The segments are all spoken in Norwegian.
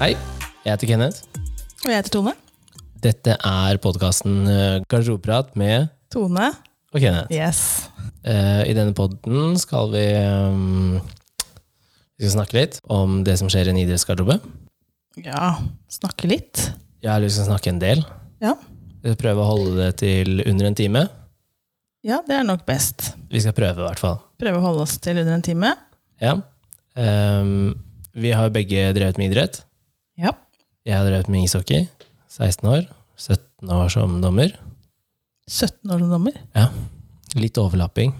Hei, jeg heter Kenneth. Og jeg heter Tone. Dette er podkasten eh, Garderobeprat med Tone. og Kenneth. Yes. Eh, I denne podden skal vi, eh, vi skal snakke litt om det som skjer i en idrettsgarderobe. Ja, snakke litt. Jeg har lyst til å snakke en del. Ja. Vi skal prøve å holde det til under en time. Ja, det er nok best. Vi skal prøve, i hvert fall. Prøve å holde oss til under en time. Ja. Eh, vi har begge drevet med idrett. Ja. Jeg har drevet med ishockey. 16 år. 17 år som dommer. 17 år som dommer. Litt overlapping.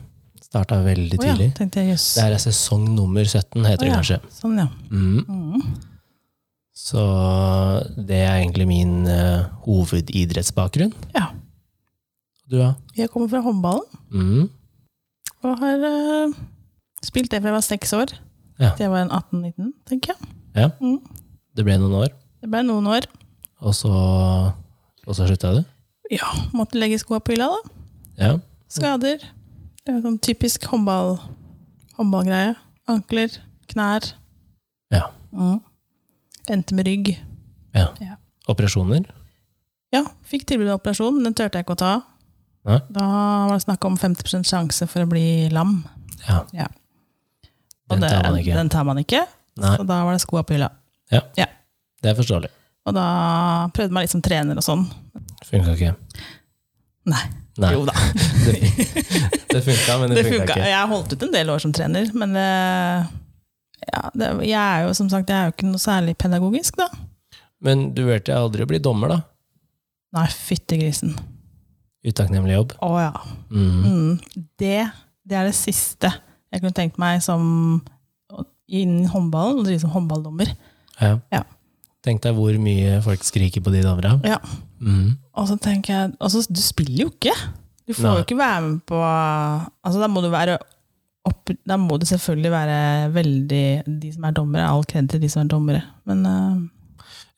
Starta veldig Å ja, tidlig. tenkte jeg, jøss. Det her er sesong nummer 17, heter det Å ja, kanskje. Sånn, ja. Mm. Mm. Så det er egentlig min eh, hovedidrettsbakgrunn. Ja. Du, da? Jeg kommer fra håndballen Mm. og har eh, spilt det fra jeg var seks år. Ja. Til jeg var en 18-19, tenker jeg. Ja. Mm. Det ble noen år, Det ble noen år. og så, og så slutta du? Ja, måtte legge skoa på hylla, da. Ja. Skader. Det er sånn typisk håndball, håndballgreie. Ankler, knær. ja. Mm. Endte med rygg. ja. Ja. Operasjoner? Ja, fikk tilbud om operasjon, men den turte jeg ikke å ta. Nei. Da var det snakk om 50 sjanse for å bli lam. Ja. Ja. Og Den det- tar man ikke. Den tar man ikke. Nei. Så da var det skoa på hylla. Det er forståelig. Og da prøvde man litt som trener og sånn. Funka ikke. Nei. Nei. Jo da, Det, det funka, men det, det funka funka. ikke. Jeg har holdt ut en del år som trener, men det, ja, det, jeg er jo som sagt jeg er jo ikke noe særlig pedagogisk, da. Men du vurderte aldri å bli dommer, da? Nei, fytti grisen. Utakknemlig jobb. Å ja. Mm. Mm. Det, det er det siste jeg kunne tenkt meg som innen håndballen, å drive som håndballdommer. Ja. Ja. Tenk deg hvor mye folk skriker på de dommera. Ja. Mm. Og så tenker jeg altså, Du spiller jo ikke! Du får Nei. jo ikke være med på altså, da, må du være opp, da må du selvfølgelig være veldig De som er dommere, all kred til de som er dommere. Men øh,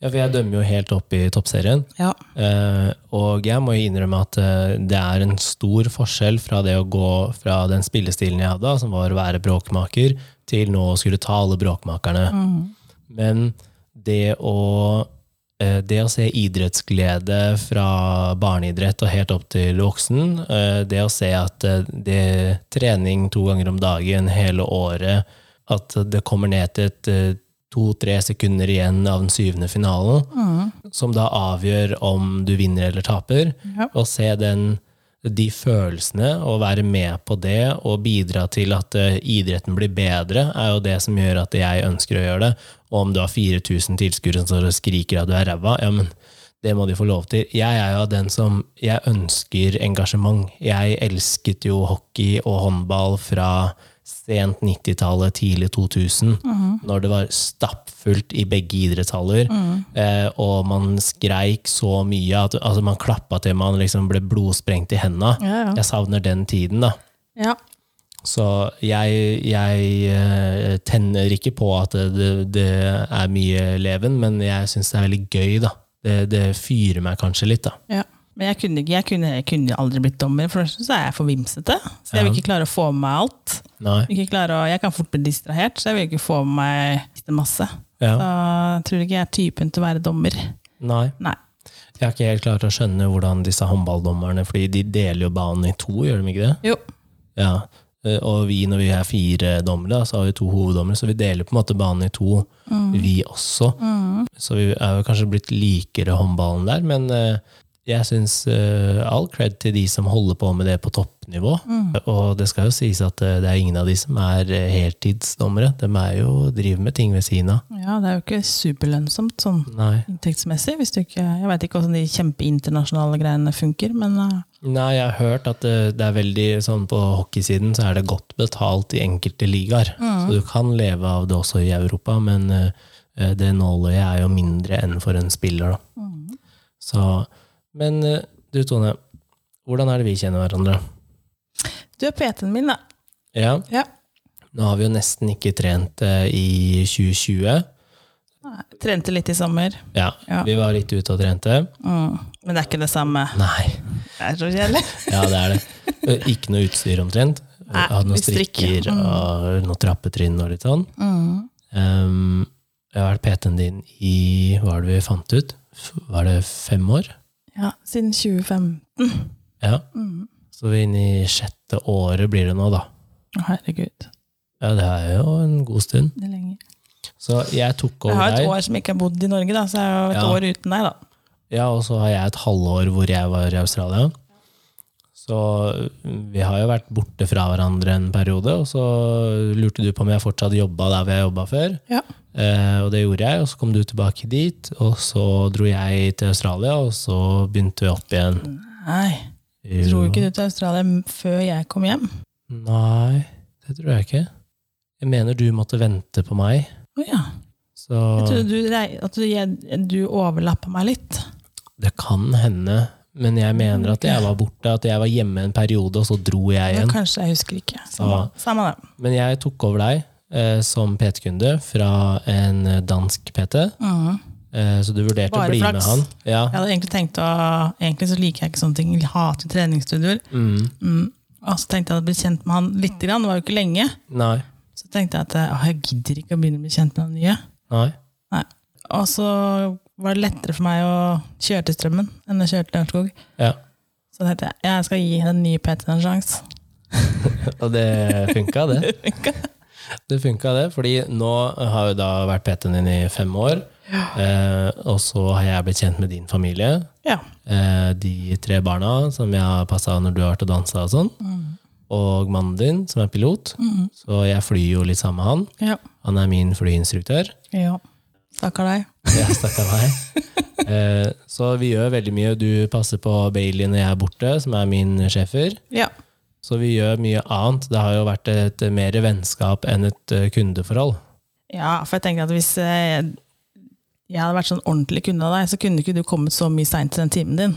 Ja, for jeg dømmer jo helt opp i toppserien. ja. Eh, og jeg må jo innrømme at eh, det er en stor forskjell fra det å gå fra den spillestilen jeg hadde, som var å være bråkmaker, til nå å skulle ta alle bråkmakerne. Men det å, eh, det å se idrettsglede fra barneidrett og helt opp til voksen, eh, det å se at eh, det trening to ganger om dagen hele året, at det kommer ned til et eh, to-tre sekunder igjen av den syvende finalen, som da avgjør om du vinner eller taper. Ja. Og se den, de følelsene, og være med på det, og bidra til at eh, idretten blir bedre, er jo det som gjør at jeg ønsker å gjøre det. Og om du har 4000 tilskuere som står og skriker at du er ræva, ja, men det må de få lov til. Jeg er jo av den som Jeg ønsker engasjement. Jeg elsket jo hockey og håndball fra sent 90-tallet, tidlig 2000, Mhm. når det var stappfullt i begge idrettshaller, Mhm. eh, og man skreik så mye at altså, man klappa til man liksom ble blodsprengt i henda. Ja, ja. Jeg savner den tiden, da. ja. Så jeg, jeg eh, tenner ikke på at det, det er mye leven, men jeg syns det er veldig gøy, da. Det, det fyrer meg kanskje litt, da. Ja. Men jeg kunne, ikke, jeg, kunne, jeg kunne aldri blitt dommer, for det første så er jeg for vimsete. Så jeg vil ikke klare å få med meg alt. Nei. Vil Ikke klare å, jeg kan fort bli distrahert, så jeg vil ikke få med meg masse. Ja. Da tror ikke jeg er typen til å være dommer. Nei. Nei. Jeg har ikke helt klart å skjønne hvordan disse håndballdommerne Fordi de deler jo banen i to, gjør de ikke det? Jo. Ja. Eh, Og vi, når vi er fire dommere, da, så har vi to hoveddommere, så vi deler på en måte banen i to, vi også. Så vi er jo kanskje blitt likere håndballen der, men eh, jeg syns all cred til de som holder på med det på toppnivå. Og det skal jo sies at eh, det er ingen av de som er eh, heltidsdommere. De er jo, driver med ting ved siden av. Ja, det er jo ikke superlønnsomt sånn Nei. inntektsmessig. Hvis du ikke, jeg veit ikke hvordan de kjempeinternasjonale greiene funker, men eh, Nei, jeg har hørt at det, det er veldig sånn på hockeysiden så er det godt betalt i enkelte ligaer. Mm. Så du kan leve av det også i Europa, men eh, det nåløyet er jo mindre enn for en spiller, da. eh, Så, men eh, du Tone, hvordan er det vi kjenner hverandre? du er PT-en min, da. Ja, Ja. nå har vi jo nesten ikke trent eh, i 2020. Nei, Trente litt i sommer. Ja, Ja. vi var litt ute og trente. Mm. Men det er ikke det samme. Nei, Det er så kjedelig. ja det er det. Eh, Ikke noe utstyr omtrent. Nei, Mm. Hadde noen vi strikker. strikker og noen trappetrinn og litt sånn. Mm. Ehm, Jeg har vært PT-en din i Hva var det vi fant ut? F- Var det fem år? Ja, siden 2015. Ja. Mm. Så vi er inne i sjette året blir det nå, da. Å, Herregud, Ja, det er jo en god stund. det er lenge. Så jeg tok Jeg over har et deg. år som ikke har bodd i Norge, da, så jeg har jo et Ja. år uten deg, da. Ja, og så har jeg et halvår hvor jeg var i Australia. Så mm, vi har jo vært borte fra hverandre en periode, og så lurte du på om jeg fortsatt jobba der hvor jeg jobba før. Ja. Eh, og det gjorde jeg, og så kom du tilbake dit, og så dro jeg til Australia, og så begynte vi opp igjen. Nei, dro ikke du til Australia m- før jeg kom hjem? Nei, det tror jeg ikke. Jeg mener du måtte vente på meg, Å ja. så Jeg trodde du, rei- at du, jeg- du overlappa meg litt. det kan hende. Men jeg mener at jeg var borte, at jeg var hjemme en periode, og så dro jeg Men igjen. kanskje jeg husker ikke. Samme, Ja. samme det. Men jeg tok over deg eh, som PT-kunde fra en eh, dansk PT, Mhm. eh, så du vurderte å Bare bli med flaks. han. Ja. Jeg hadde egentlig tenkt å Egentlig så liker jeg ikke sånne ting. Jeg hater treningsstudioer. Mm. Mm. Og så tenkte jeg å bli kjent med han litt, grann. det var jo ikke lenge. Nei. Så tenkte jeg at eh, «Åh, jeg gidder ikke å begynne å bli kjent med han nye. Nei. Nei. Og så var det lettere for meg å kjøre til Strømmen enn å kjøre til Lørenskog. Ja. Så tenkte jeg jeg skal gi den nye PT-en en sjanse. Og det funka, det. Det funka, det. Fordi nå har jo da vært PT-en din i fem år. Eh, og så har jeg blitt kjent med din familie. Ja. Eh, de tre barna som jeg har passa når du har vært og dansa og sånn. Mm. Og mannen din, som er pilot. Så jeg flyr jo litt sammen med han. ja. Han er min flyinstruktør. ja. Stakkar deg. Ja, stakkar meg. Eh, så vi gjør veldig mye. Du passer på Bailey når jeg er borte, som er min sjefer. Ja. Så vi gjør mye annet. Det har jo vært et mer vennskap enn et eh, kundeforhold. ja, for jeg tenker at hvis eh, jeg hadde vært sånn ordentlig kunde av deg, så kunne ikke du kommet så mye seint til den timen din.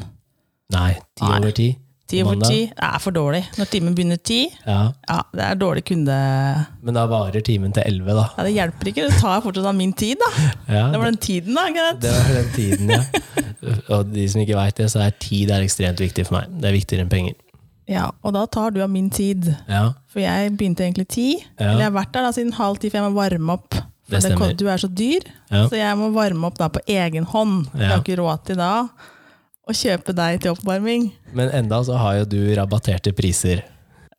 Nei, ti Nei. over ti. Ti over Mandag. ti det er for dårlig. Når timen begynner ti, Ja, ja, det er dårlig kunde... Men da varer timen til elleve, da. Ja, det hjelper ikke, det tar fortsatt av min tid da. Ja, Det var den tiden da, ikke sant? Det var den tiden, ja. Og de som ikke veit det, så er tid er ekstremt viktig for meg. Det er viktigere enn penger. Ja, og da tar du av min tid. Ja, For jeg begynte egentlig ti. Ja. Eller jeg har vært der da siden halv ti, for jeg må varme opp. For Det det kom- stemmer. du er så dyr, Ja. så jeg må varme opp da på egen hånd. Jeg Ja. har ikke råd til da å kjøpe deg til oppvarming. Men enda så har jo du rabatterte priser.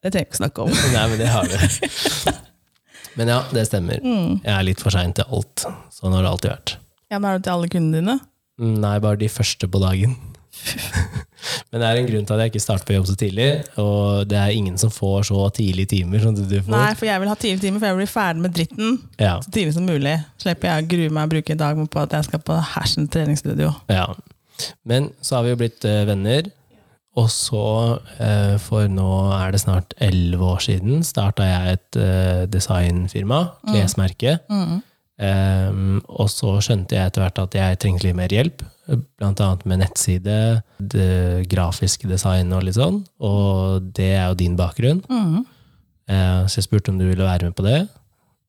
Det trenger jeg ikke snakke om. Nei, men det har du. Men ja, det stemmer. Jeg er litt for sein til alt. Sånn har det alltid vært. Mm, Ja, men er du til alle kundene dine? Nei, bare de første på dagen. Men det er en grunn til at jeg ikke starter på jobb så tidlig, og det er ingen som får så tidlige timer som du får. Nei, for jeg vil ha tidlig time, for jeg blir ferdig med dritten Ja, så tidlig som mulig. Slipper jeg å grue meg og bruke en dag på at jeg skal på Hersen treningsstudio. ja. Men så har vi jo blitt eh, venner, og så, eh, for nå er det snart elleve år siden, starta jeg et eh, designfirma, klesmerke. Ehm, og så skjønte jeg etter hvert at jeg trengte litt mer hjelp, blant annet med nettside, det grafiske design og litt sånn, og det er jo din bakgrunn. Mm. Eh, Så jeg spurte om du ville være med på det,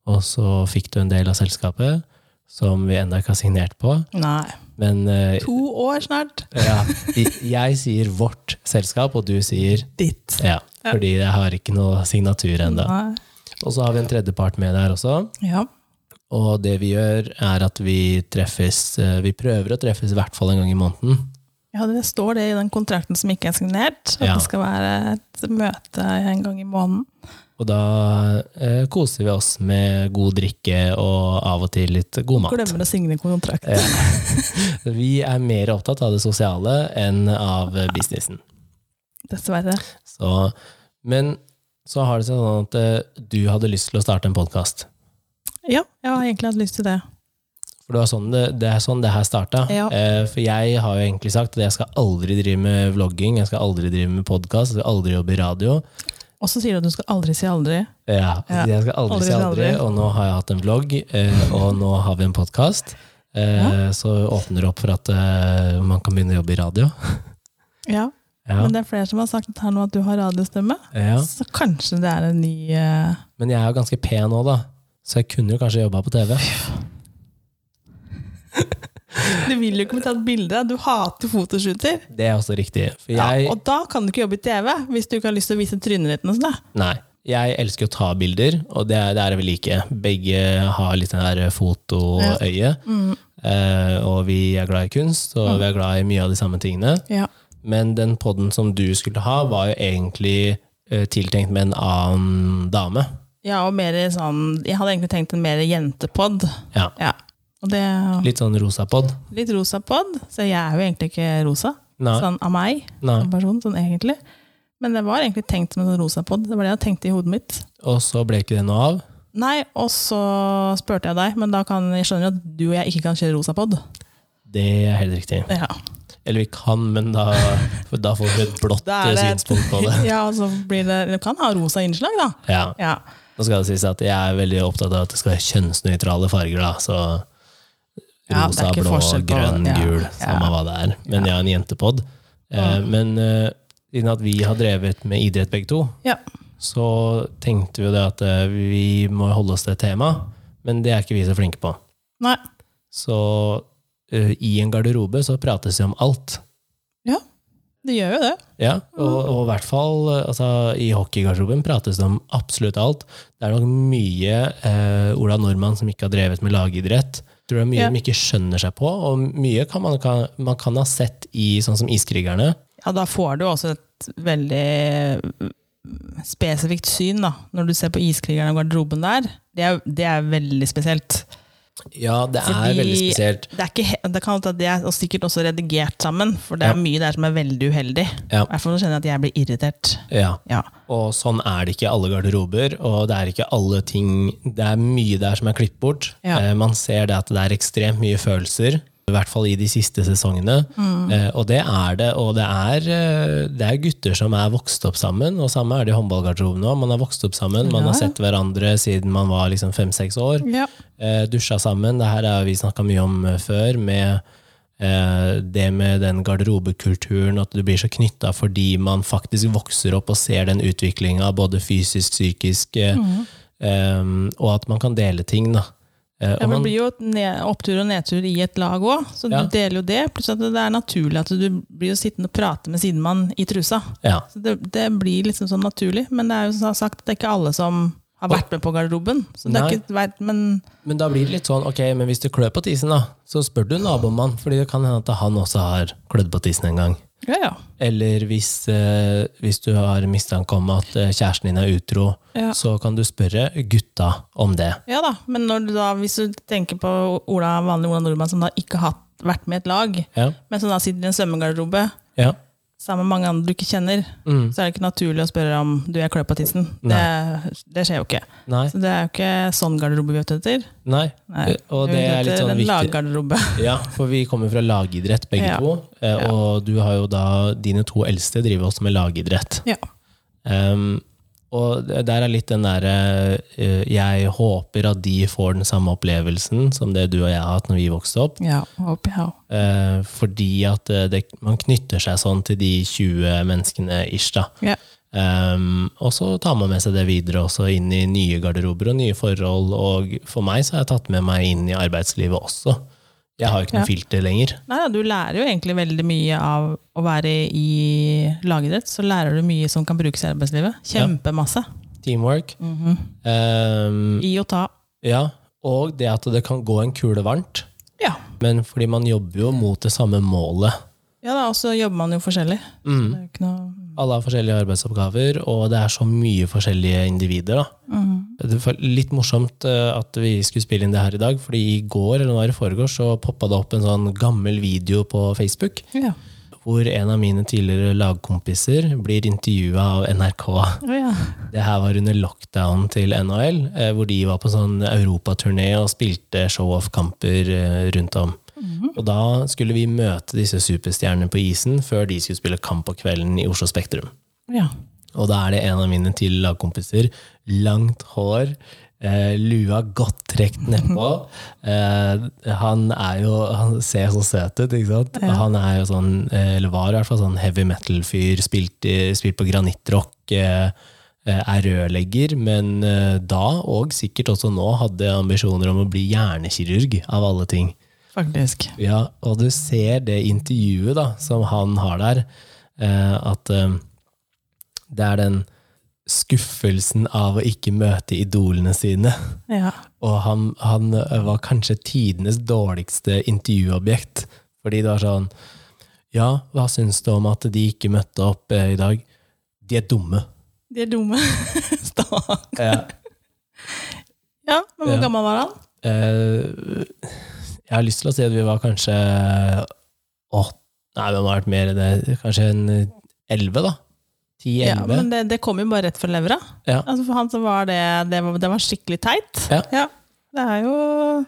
og så fikk du en del av selskapet, som vi enda ikke har signert på, Nei. men eh, To år snart. ja, jeg sier vårt selskap, og du sier Ditt. ja, fordi jeg har ikke noe signatur enda. Nei. Og så har vi en tredjepart med der også, Ja. og det vi gjør, er at vi treffes eh, Vi prøver å treffes i hvert fall en gang i måneden. Ja, det står det i den kontrakten som ikke er signert, at Ja. det skal være et møte en gang i måneden. Og da eh, koser vi oss med god drikke og av og til litt god mat. Glemmer å signe kontrakt. Vi er mer opptatt av det sosiale enn av eh, businessen. Dessverre. Så, men så har det seg sånn at eh, du hadde lyst til å starte en podkast. Ja, jeg har egentlig hatt lyst til det. For det, var sånn det, det er sånn det her starta. Ja. Eh, for jeg har jo egentlig sagt at jeg skal aldri drive med vlogging, jeg skal aldri drive med podkast, jeg skal aldri jobbe i radio. Og så sier du at du skal aldri si aldri. Ja, Ja. jeg skal aldri, Aldri si si aldri, aldri. og nå har jeg hatt en vlogg, eh, og nå har vi en podkast. Eh, så åpner det opp for at eh, man kan begynne å jobbe i radio. Ja. Ja. Men det er flere som har sagt her nå at du har radiostemme, Ja. så kanskje det er en ny eh, Men jeg er jo ganske pen nå, da, så jeg kunne jo kanskje jobba på TV. Du vil jo ikke bli tatt bilde av, du hater fotoshooter. Det er også riktig. For Ja, jeg og sånn, da kan du ikke jobbe i TV, hvis du ikke har lyst til å vise trynet ditt. og sånt da. Nei. Jeg elsker å ta bilder, og det, er- det er vi like. Begge har litt den der fotoøyet. Mm. Eh, og vi er glad i kunst, og vi er glad i mye av de samme tingene. Ja. Men den podden som du skulle ha, var jo egentlig eh, tiltenkt med en annen dame. ja, og mer sånn Jeg hadde egentlig tenkt en mer jentepod. Ja. Ja. Og det Litt sånn rosa pod. Litt rosa pod, så jeg er jo egentlig ikke rosa. Nei. Sånn av meg Nei. som person, sånn egentlig. Men det var egentlig tenkt som en sånn rosa pod. Det var det jeg tenkte i hodet mitt. Og så ble ikke det noe av. Nei, og så spurte jeg deg, men da kan, jeg skjønner jo at du og jeg ikke kan kjøre rosa pod. Det er helt riktig. Ja. Eller vi kan, men da, for da får vi et blått Da eh, er det- synspunkt på det. ja, og så blir det Du kan ha rosa innslag, da. Ja. Ja. Nå skal det sies at jeg er veldig opptatt av at det skal være kjønnsnøytrale farger, da. Så Ja, det er rosa, ikke blå, forskjell på- grønn, ja, gul. ja. Samme hva det er. Men jeg er en jentepod. Eh, Men eh, siden at vi har drevet med idrett begge to, ja. så tenkte vi jo det at eh, vi må holde oss til et tema, men det er ikke vi så flinke på. Nei. Så eh, i en garderobe så prates det om alt. Ja. Det gjør jo det. Ja, og, og i hvert fall altså, i hockeygarderoben prates det om absolutt alt. Det er nok mye eh, Ola Nordmann som ikke har drevet med lagidrett. Tror det er mye Ja. de ikke skjønner seg på, og mye kan man, kan, man kan ha sett i sånn som Iskrigerne. Ja, da får du også et veldig spesifikt syn, da. Når du ser på Iskrigerne og garderoben der. Det er, det er veldig spesielt. Ja, det er Fordi- veldig spesielt. Det, er ikke, he- det kan hende at det er og sikkert også redigert sammen, for det Ja. er mye der som er veldig uheldig. Ja. I hvert fall nå kjenner jeg at jeg blir irritert. Ja. Ja. Og sånn er det ikke i alle garderober, og det er ikke alle ting Det er mye der som er klippet bort. Ja. Eh, man ser det at det er ekstremt mye følelser, i hvert fall i de siste sesongene. Mm. Eh, og det er det. Og det er, eh, det er gutter som er vokst opp sammen, og samme er det i håndballgarderoben òg. Man har vokst opp sammen, man Ja. har sett hverandre siden man var liksom fem-seks år. Ja. Eh, dusja sammen. Det her har vi snakka mye om eh, før, med eh, det med den garderobekulturen, at du blir så knytta fordi man faktisk vokser opp og ser den utviklinga, både fysisk, psykisk, eh, eh, og at man kan dele ting, da. Eh, og men det man, blir jo et ned, opptur og nedtur i et lag òg, så Ja. du deler jo det. Pluss at det er naturlig at du blir jo sittende og prate med sidemann i trusa. ja. Så det, det blir liksom sånn naturlig, men det er jo som sagt, det er ikke alle som har vært med på garderoben. Så det Nei. er ikke, vært- men Men da blir det litt sånn, ok, men hvis du klør på tissen, da, så spør du nabomannen, fordi det kan hende at han også har klødd på tissen en gang. ja, ja. Eller hvis, eh, hvis du har mistanke om at eh, kjæresten din er utro, Ja. så kan du spørre gutta om det. Ja da, men når du da, hvis du tenker på Ola, vanlig Ola Nordmann som da ikke har hatt, vært med i et lag, Ja, men som da sitter i en svømmegarderobe ja. sammen med mange andre du ikke kjenner, Mm. så er det ikke naturlig å spørre om du er klø på tissen. Det, det skjer jo ikke. Nei. Så det er jo ikke sånn garderobe vi er ute etter. Nei. Nei. Og det Vi er litt etter sånn en viktig. laggarderobe. Ja, for vi kommer fra lagidrett begge Ja. to. eh, Og du har jo da dine to eldste driver også med lagidrett. Ja. Ehm, og der er litt den derre eh, Jeg håper at de får den samme opplevelsen som det du og jeg har hatt når vi vokste opp. ja, håper jeg også. Eh, fordi at eh, det, man knytter seg sånn til de 20 menneskene ish, da. Ja. Ehm, og så tar man med seg det videre også inn i nye garderober og nye forhold. Og for meg så har jeg tatt med meg inn i arbeidslivet også. Jeg har jo ikke noe Ja. filter lenger. Nei, da, du lærer jo egentlig veldig mye av å være i lagidrett. Så lærer du mye som kan brukes i arbeidslivet. Kjempemasse. Teamwork. Mm. Mhm. Ehm, I og ta. ja, og det at det kan gå en kule varmt. Ja. Men fordi man jobber jo mot det samme målet. Ja da, og så jobber man jo forskjellig. Mhm. Så det er jo ikke noe... Alle har forskjellige arbeidsoppgaver, og det er så mye forskjellige individer. da. Det var litt morsomt eh, at vi skulle spille inn det her i dag, fordi i går eller nå i forgårs så poppa det opp en sånn gammel video på Facebook. Ja. hvor en av mine tidligere lagkompiser blir intervjua av NRK. Å ja. Det her var under lockdown til NHL, eh, hvor de var på sånn europaturné og spilte show-off-kamper eh, rundt om. Og da skulle vi møte disse superstjernene på isen før de skulle spille kamp på kvelden i Oslo Spektrum. ja. Og da er det en av mine tidligere lagkompiser. Langt hår, eh, lua godt trukket nedpå. Eh, han er jo Han ser så søt ut, ikke sant? Han er jo sånn, eh, eller var i hvert fall sånn heavy metal-fyr. Spilt, i- spilt på granittrock. Eh, eh, er rørlegger, men eh, da, og sikkert også nå, hadde ambisjoner om å bli hjernekirurg, av alle ting. Faktisk. Ja, og du ser det intervjuet da, som han har der, eh, at eh, det er den skuffelsen av å ikke møte idolene sine. Ja. Og han, han eh, var kanskje tidenes dårligste intervjuobjekt. Fordi det var sånn Ja, hva syns du om at de ikke møtte opp eh, i dag? De er dumme. De er dumme. Stakk. Eh, Ja, men hvor Ja. gammel var han? eh, jeg har lyst til å si at vi var kanskje åtte Nei, vi må ha vært mer enn det. Kanskje en eh, elleve, da? Ja, Ti-elleve? men det, det kom jo bare rett fra levra. Ja. Altså for han så var det, det, var, det var skikkelig teit. Ja. Det er jo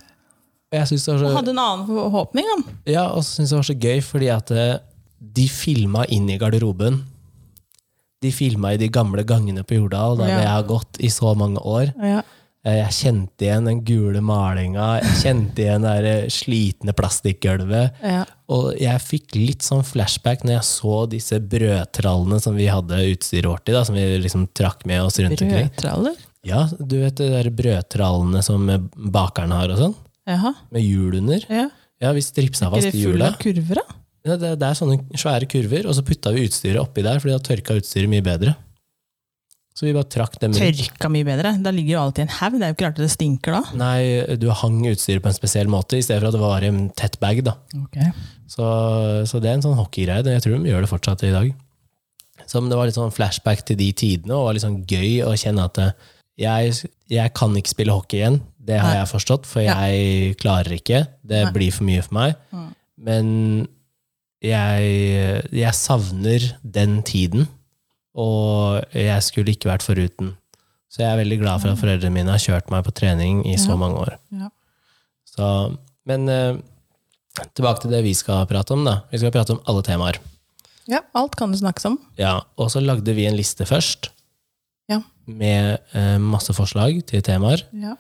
Jeg synes det var så- Han hadde en annen forhåpning, han. Ja, og så syns jeg det var så gøy, fordi at eh, de filma inn i garderoben. De filma i de gamle gangene på Jordal, der Ja. hvor jeg har gått i så mange år. Ja. Eh, Jeg kjente igjen den gule malinga, jeg kjente igjen det der, eh, slitne plastikkgulvet. Ja. Og jeg fikk litt sånn flashback når jeg så disse brødtrallene som vi hadde utstyret vårt i, da, som vi liksom trakk med oss rundt omkring. Brødtraller? Ja, du vet de der brødtrallene som eh, bakeren har og sånn? Jaha. Med hjul under? Ja. Ja, vi stripsa Er fast det fulle hjula. av kurver, da? Ja, det, det er sånne svære kurver, og så putta vi utstyret oppi der, fordi da tørka utstyret mye bedre. Så vi bare trakk dem rundt. Tørka mye bedre. Da ligger jo alltid en haug. Det er jo ikke rart det stinker da. Nei, du hang utstyret på en spesiell måte, i stedet for at det var i en tett bag. da. Så, så det er en sånn hockeygreie. det- Jeg tror de gjør det fortsatt i dag. Så men det var litt sånn flashback til de tidene, og var litt sånn gøy å kjenne at eh, jeg, jeg kan ikke spille hockey igjen. Det har Nei. jeg forstått, for Ja. jeg klarer ikke. Det Nei. blir for mye for meg. Mm. Men jeg, jeg savner den tiden, og jeg skulle ikke vært foruten. Så jeg er veldig glad for at foreldrene mine har kjørt meg på trening i så Mm. Ja. mange år. Ja. Så, men eh, tilbake til det vi skal prate om. da. Vi skal prate om alle temaer. Ja, alt kan det snakkes om. Ja, og så lagde vi en liste først. Ja. Med eh, masse forslag til temaer. Ja,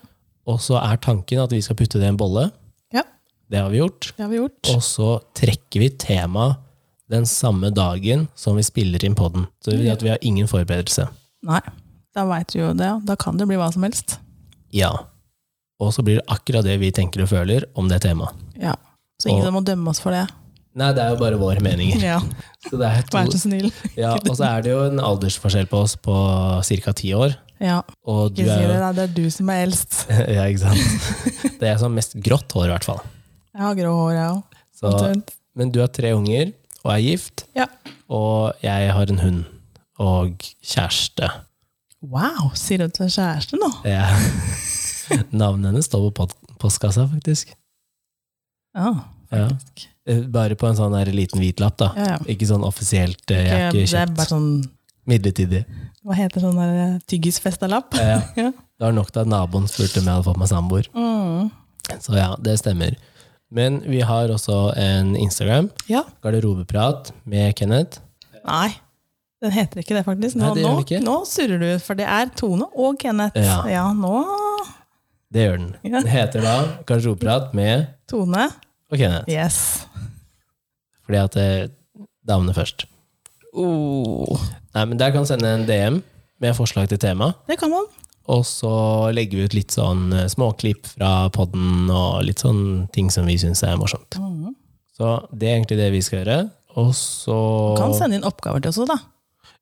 Og så er tanken at vi skal putte det i en bolle. Ja. Det har vi gjort. det har vi gjort. Og så trekker vi tema den samme dagen som vi spiller inn podden. Så det vil si at vi har ingen forberedelse. Nei, da veit du jo det. Da kan det bli hva som helst. Ja. Og så blir det akkurat det vi tenker og føler om det temaet. Ja. Så ingen Og- som må dømme oss for det. Nei, det er jo bare våre meninger. Ja, Så det er vær to, så snill. ja, og så er det jo en aldersforskjell på oss på ca. ti år. Ja, Og du ikke si er det. jo da. Det er du som er eldst. Ja, ikke sant? Det er sånn mest grått hår, i hvert fall. Jeg har grå hår, jeg òg. Så, men du har tre unger og er gift, Ja. og jeg har en hund og kjæreste. Wow, sier du til kjæreste nå? Jeg- Navnet hennes står på pod- postkassa, faktisk. Ja, Ja. faktisk. Eh, Bare på en sånn der liten hvit lapp, da. Ja, ja. Ikke sånn offisielt, eh, jeg har ikke Ikke- det er kjøpt bare sånn midlertidig. Hva heter sånn der tyggisfesta-lapp? Ja. Ja. Det var nok til at naboen spurte om jeg hadde fått meg samboer. Mm. Så ja, det stemmer. Men vi har også en Instagram, ja. Garderobeprat med Kenneth. Nei, den heter ikke det, faktisk. Nå, Nei, det gjør den nå, ikke. nå surrer du, for det er Tone og Kenneth. Ja. nå Det gjør den. Ja. Den heter da Garderobeprat med Tone. og Kenneth. Yes. Fordi at eh, damene først. Oh. Nei, men Der kan du sende en DM med forslag til tema. Det kan man. Og så legger vi ut litt sånn eh, småklipp fra podden og litt sånn ting som vi syns er morsomt. Mhm. Så det er egentlig det vi skal gjøre. Og så Kan sende inn oppgaver til oss òg, da.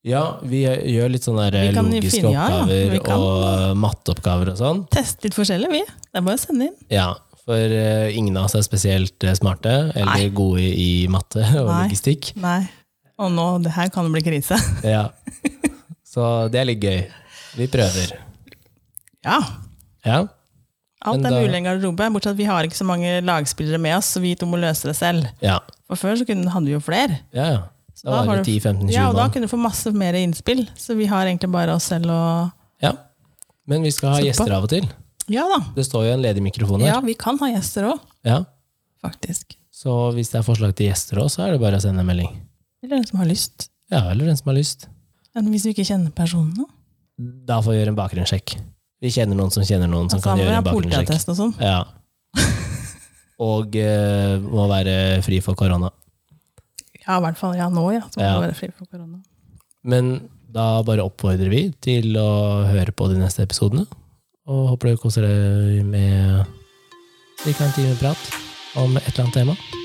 Ja, vi gjør litt sånne der Vi kan logiske finne- ja, ja, oppgaver vi kan. og eh, matteoppgaver og sånn. Teste litt forskjellig, vi. Det er bare å sende inn. Ja, for eh, ingen av oss er spesielt eh, smarte eller Nei. gode i matte og Nei. logistikk. Nei. Og nå, det her kan bli krise. Ja. Så det er litt gøy. Vi prøver. Ja. Ja. Alt Men er da- mulig i en garderobe, bortsett at vi har ikke så mange lagspillere med oss, så vi to må løse det selv. Ja, For før så kunne, hadde vi jo flere. ja. ja. da Da var har det du- 10-15-20 Ja, og da mann. kunne du få masse mer innspill. Så vi har egentlig bare oss selv og Ja. Men vi skal ha Slipp på. gjester av og til. Ja da. Det står jo en ledig mikrofon Sånn her. Ja, vi kan ha gjester òg, Ja. faktisk. Så hvis det er forslag til gjester òg, så er det bare å sende en melding. Eller den som har lyst. Ja, eller den som har lyst. Men hvis vi ikke kjenner personene. Da får vi gjøre en bakgrunnssjekk. Vi kjenner noen som kjenner noen som Altså, da kan må vi gjøre ha en bakgrunnssjekk. politiattest og sånn. Ja. Og eh, må være fri for korona. Ja, i hvert fall. Ja, nå, ja. Så må Ja. vi være fri for korona. Men da bare oppfordrer vi til å høre på de neste episodene. Og håper dere koser dere med ca. en time prat om et eller annet tema.